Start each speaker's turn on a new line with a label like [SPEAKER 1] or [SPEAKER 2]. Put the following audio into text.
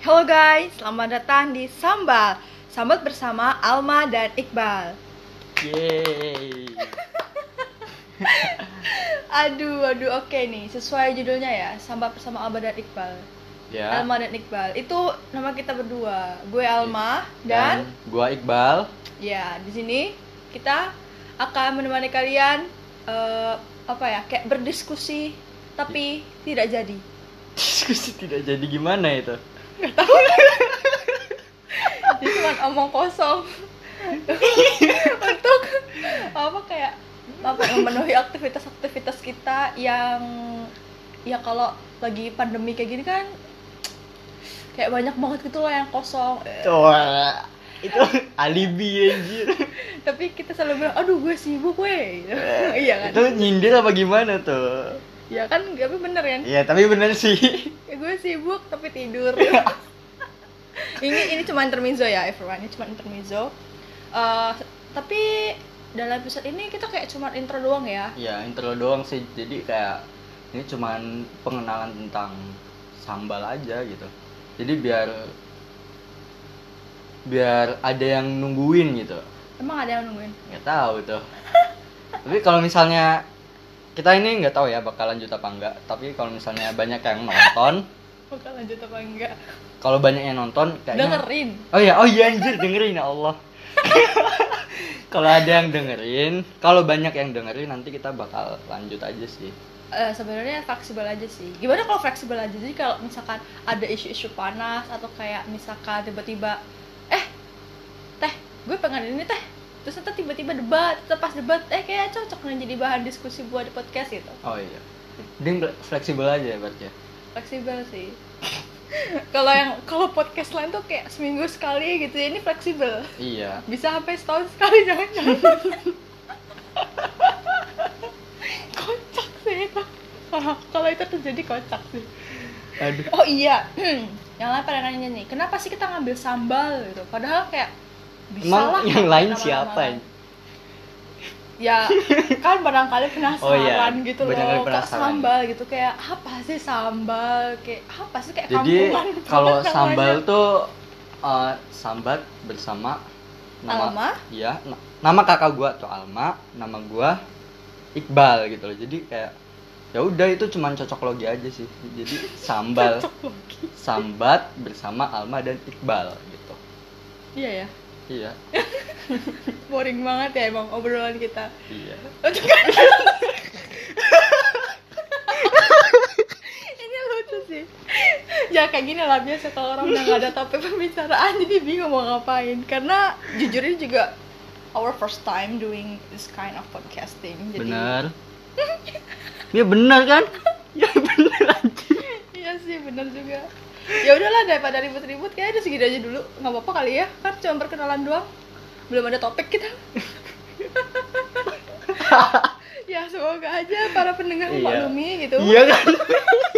[SPEAKER 1] Halo guys, selamat datang di Sambal. Sambal bersama Alma dan Iqbal.
[SPEAKER 2] Yeay.
[SPEAKER 1] Aduh, aduh, oke nih, sesuai judulnya ya, Sambal bersama Alma dan Iqbal.
[SPEAKER 2] Ya.
[SPEAKER 1] Alma dan Iqbal, itu nama kita berdua. Gue Alma dan,
[SPEAKER 2] Ya. gua Iqbal.
[SPEAKER 1] ya di sini kita akan menemani kalian eh, apa ya, kayak berdiskusi tapi tidak jadi.
[SPEAKER 2] Diskusi tidak jadi gimana itu?
[SPEAKER 1] Jadi cuma omong kosong untuk apa kayak apa memenuhi aktivitas-aktivitas kita yang ya kalau lagi pandemi kayak gini kan kayak banyak banget gitu loh yang kosong Eh,
[SPEAKER 2] Wah, itu alibi anjir.
[SPEAKER 1] tapi kita selalu bilang aduh gue sibuk weh Gitu. iya
[SPEAKER 2] itu
[SPEAKER 1] kan
[SPEAKER 2] nyindir apa gimana tuh?
[SPEAKER 1] iya kan tapi bener kan
[SPEAKER 2] Iya, tapi bener sih.
[SPEAKER 1] Ya, gue sibuk tapi tidur ini ini cuma intermezzo ya everyone ini cuma intermezzo Eh, tapi dalam episode ini kita kayak cuma intro doang ya
[SPEAKER 2] ya, intro doang sih. Jadi kayak ini cuman pengenalan tentang sambal aja gitu. Jadi biar biar ada yang nungguin gitu.
[SPEAKER 1] emang ada yang nungguin
[SPEAKER 2] nggak tahu tuh tapi kalau misalnya kita ini nggak tahu ya bakal lanjut apa enggak tapi kalau misalnya banyak yang nonton
[SPEAKER 1] bakal lanjut apa enggak
[SPEAKER 2] kalau banyak yang nonton kayaknya
[SPEAKER 1] dengerin
[SPEAKER 2] oh ya oh iya anjir dengerin ya Allah kalau ada yang dengerin kalau banyak yang dengerin nanti kita bakal lanjut aja sih
[SPEAKER 1] Eh, sebenarnya fleksibel aja sih gimana kalau fleksibel aja jadi kalau misalkan ada isu-isu panas atau kayak misalkan tiba-tiba eh teh gue pengen ini teh terus nanti tiba-tiba debat terus pas debat eh kayak cocok nih jadi bahan diskusi buat di podcast gitu
[SPEAKER 2] oh iya Ding fleksibel aja ya berarti ya.
[SPEAKER 1] fleksibel sih kalau yang kalau podcast lain tuh kayak seminggu sekali gitu ya ini fleksibel
[SPEAKER 2] iya
[SPEAKER 1] bisa sampai setahun sekali jangan jangan kocak sih itu kalau itu terjadi kocak sih
[SPEAKER 2] aduh
[SPEAKER 1] oh iya yang lain pada nanya nih kenapa sih kita ngambil sambal gitu padahal kayak bisa
[SPEAKER 2] emang
[SPEAKER 1] lah
[SPEAKER 2] yang lain
[SPEAKER 1] nama-nama
[SPEAKER 2] siapa
[SPEAKER 1] lain. ya kan barangkali penasaran
[SPEAKER 2] Oh iya,
[SPEAKER 1] gitu loh
[SPEAKER 2] barangkali
[SPEAKER 1] kok
[SPEAKER 2] penasaran.
[SPEAKER 1] sambal gitu kayak apa sih sambal kayak apa sih kayak
[SPEAKER 2] jadi
[SPEAKER 1] kampungan gitu
[SPEAKER 2] kalau
[SPEAKER 1] namanya.
[SPEAKER 2] sambal tuh eh, sambat bersama nama
[SPEAKER 1] Alma?
[SPEAKER 2] iya na- nama kakak gua tuh Alma nama gua Iqbal gitu loh jadi kayak ya udah itu cuman cocok logi aja sih jadi sambal
[SPEAKER 1] Cocok lagi.
[SPEAKER 2] sambat bersama Alma dan Iqbal gitu
[SPEAKER 1] iya ya
[SPEAKER 2] iya
[SPEAKER 1] boring banget ya emang obrolan kita
[SPEAKER 2] iya
[SPEAKER 1] ini lucu sih ya kayak gini lah biasa kalau orang udah gak ada topik pembicaraan jadi bingung mau ngapain karena jujur ini juga our first time doing this kind of podcasting jadi
[SPEAKER 2] benar ya benar kan ya benar aja
[SPEAKER 1] iya sih bener juga ya udahlah daripada ribut-ribut kayaknya udah segini aja dulu nggak apa-apa kali ya kan cuma perkenalan doang belum ada topik kita ya semoga aja para pendengar
[SPEAKER 2] Iya.
[SPEAKER 1] memaklumi gitu
[SPEAKER 2] iya kan